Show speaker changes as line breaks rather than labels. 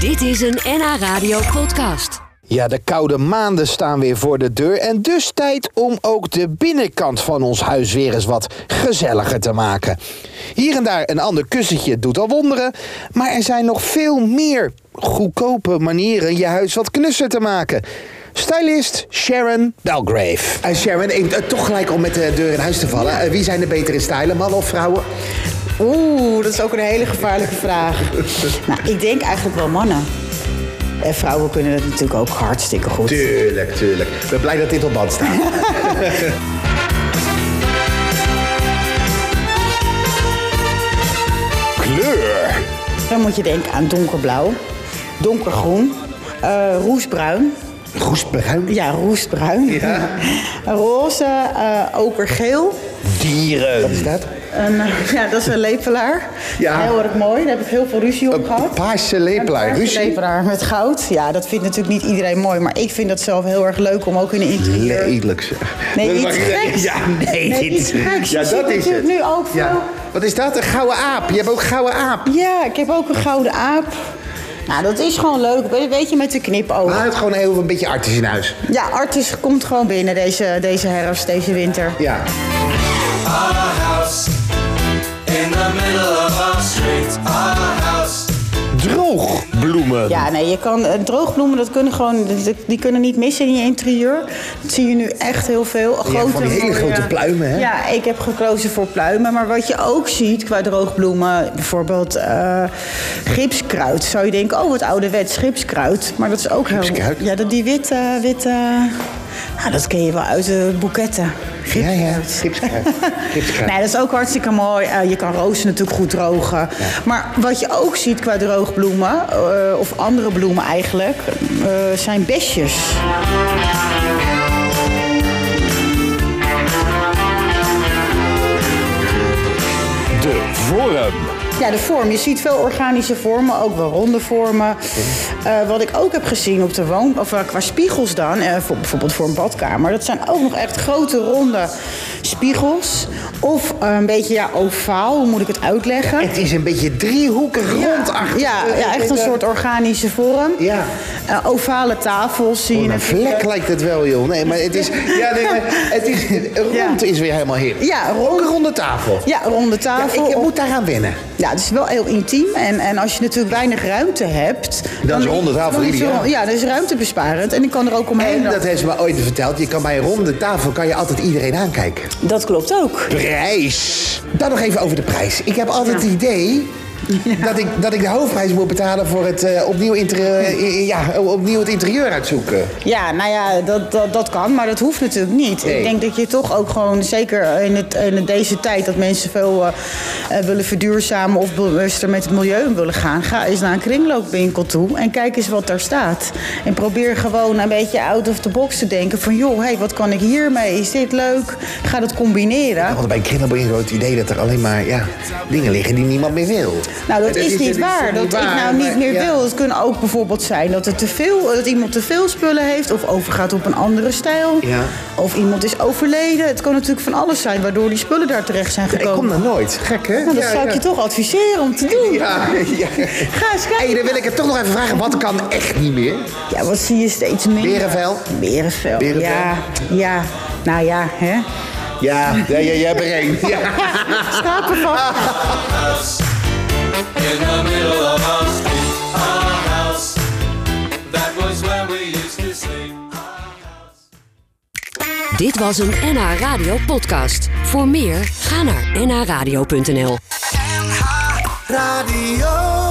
Dit is een NH Radio podcast.
Ja, de koude maanden staan weer voor de deur. En dus tijd om ook de binnenkant van ons huis weer eens wat gezelliger te maken. Hier en daar een ander kussentje doet al wonderen. Maar er zijn nog veel meer goedkope manieren je huis wat knusser te maken. Stylist Sharon Belgrave.
Eh, Sharon, even, eh, toch gelijk om met de deur in huis te vallen. Eh, wie zijn er beter in stylen, mannen of vrouwen?
Oeh, dat is ook een hele gevaarlijke vraag. nou, ik denk eigenlijk wel mannen. En vrouwen kunnen dat natuurlijk ook hartstikke goed.
Tuurlijk, tuurlijk. Ik ben blij dat dit op band staat.
Kleur.
Dan moet je denken aan donkerblauw, donkergroen, eh, roesbruin.
Roestbruin.
Ja, roesbruin.
Ja.
Roze, eh, okergeel.
Dieren. Wat is dat?
Een, eh, ja, dat is een lepelaar.
Ja.
Heel erg mooi, daar heb ik heel veel ruzie op gehad.
Paarse lepelaar.
Een paarse
Ruzie.
lepelaar met goud. Ja, dat vindt natuurlijk niet iedereen mooi. Maar ik vind dat zelf heel erg leuk om ook in een interieur...
Lelijk zeg.
Nee,
Dat
iets
mag je-
geks.
Ja, nee,
Nee,
dit
iets geks.
Ja,
Je ziet
dat is het.
natuurlijk nu ook veel-
Ja. Wat is dat? Een gouden aap. Je hebt ook gouden aap.
Ja, ik heb ook een gouden aap. Nou, dat is gewoon leuk. Weet- Weet je, met de
We
knipoog.
houden gewoon heel een beetje artis in huis.
Ja, Artis komt gewoon binnen deze, deze herfst, deze winter.
Ja.
Our house in the middle of our street. Our house.
Droogbloemen.
Ja, nee, je kan, eh, droogbloemen, dat kunnen gewoon, die- die kunnen niet missen in je interieur. Dat zie je nu echt heel veel. Grote,
van die hele
mooie-
grote pluimen, hè?
Ja, ik heb gekozen voor pluimen. Maar wat je ook ziet qua droogbloemen, bijvoorbeeld eh, gipskruid. Zou je denken, oh, wat ouderwets gipskruid. Maar dat is ook
Gipskruid?
heel... Ja, dat die witte, witte... Nou, dat ken je wel uit de boeketten.
Ja, ja.
Gipskruid.
Gipskruid. Gipskruid.
Nee, dat is ook hartstikke mooi. Eh, je kan rozen natuurlijk goed drogen. Maar wat je ook ziet qua droogbloemen, eh, of andere bloemen eigenlijk, eh, zijn besjes.
De vorm.
Ja, de vorm. Je ziet veel organische vormen, ook wel ronde vormen. Eh, wat ik ook heb gezien op de woon... Of eh, qua spiegels dan, eh, voor, bijvoorbeeld voor een badkamer... dat zijn ook nog echt grote ronde spiegels. Of eh, een beetje ja, ovaal, hoe moet ik het uitleggen?
Het is een beetje driehoekig rondachtig.
Ja, ja, echt een soort organische vorm.
Ja.
Eh, ovale tafels zie je
Oh, Een
natuurlijk.
vlek lijkt het wel, joh. Nee, maar het is... Ja, nee, maar het is... Rond
Ja.
is weer helemaal hip.
Ja,
Ook een
rond,
ronde tafel.
ja,
Ja,
ronde tafel.
ik moet daaraan wennen.
Ja, het is wel heel intiem. En, en als je natuurlijk weinig ruimte hebt...
Dan is een ronde tafel
dan is er-
ideaal.
Ja, dat is ruimtebesparend. En ik kan er ook omheen.
En dat heeft ze me ooit verteld. Je kan bij een ronde tafel kan je altijd iedereen aankijken.
dat klopt ook.
Prijs. Dan nog even over de prijs. Ik heb altijd het idee... Dat, ik, dat ik de hoofdprijs moet betalen voor het, eh, opnieuw, inter- eh, ja, opnieuw het interieur uitzoeken.
Ja, nou ja, dat, dat, dat kan, maar dat hoeft natuurlijk niet.
Nee.
Ik denk dat je toch ook gewoon, zeker in, het, in deze tijd... dat mensen veel eh, eh, willen verduurzamen of bewuster met het milieu om willen gaan... ga eens naar een kringloopwinkel toe en kijk eens wat daar staat. En probeer gewoon een beetje out of the box te denken van... joh, hey, wat kan ik hiermee? Is dit leuk? Ga dat combineren.
Want bij Krillenbringo het idee dat er alleen maar ja, dingen liggen die niemand meer wil.
Nou, dat
En
is niet waar. Dat ik nou niet
eh, maar-
meer
ja.
wil. Het kunnen ook bijvoorbeeld zijn dat, er te veel, dat iemand te veel spullen heeft... of overgaat op een andere stijl.
Ja.
Of iemand is overleden. Het kan natuurlijk van alles zijn waardoor die spullen daar terecht zijn
Ik
gekomen.
kom daar nooit. Gek, hè?
nou, dat
Ja,
zou
ja.
ik je toch adviseren om te doen.
Ja, ja.
Ga eens kijken.
hey, dan wil ik het toch nog even vragen. Wat kan echt niet meer?
Ja, wat zie je steeds meer?
Berenvel?
Berenvel,
Berenvel.
ja. Ja, nou ja, hè.
Ja, ja, ja jij hebt er één. Ja.
Schapenvacht.
House in the middle of our street. Our house. That was where we used to sleep.
Dit was een NH Radio podcast. Voor meer, ga naar nhradio.nl.
Radio.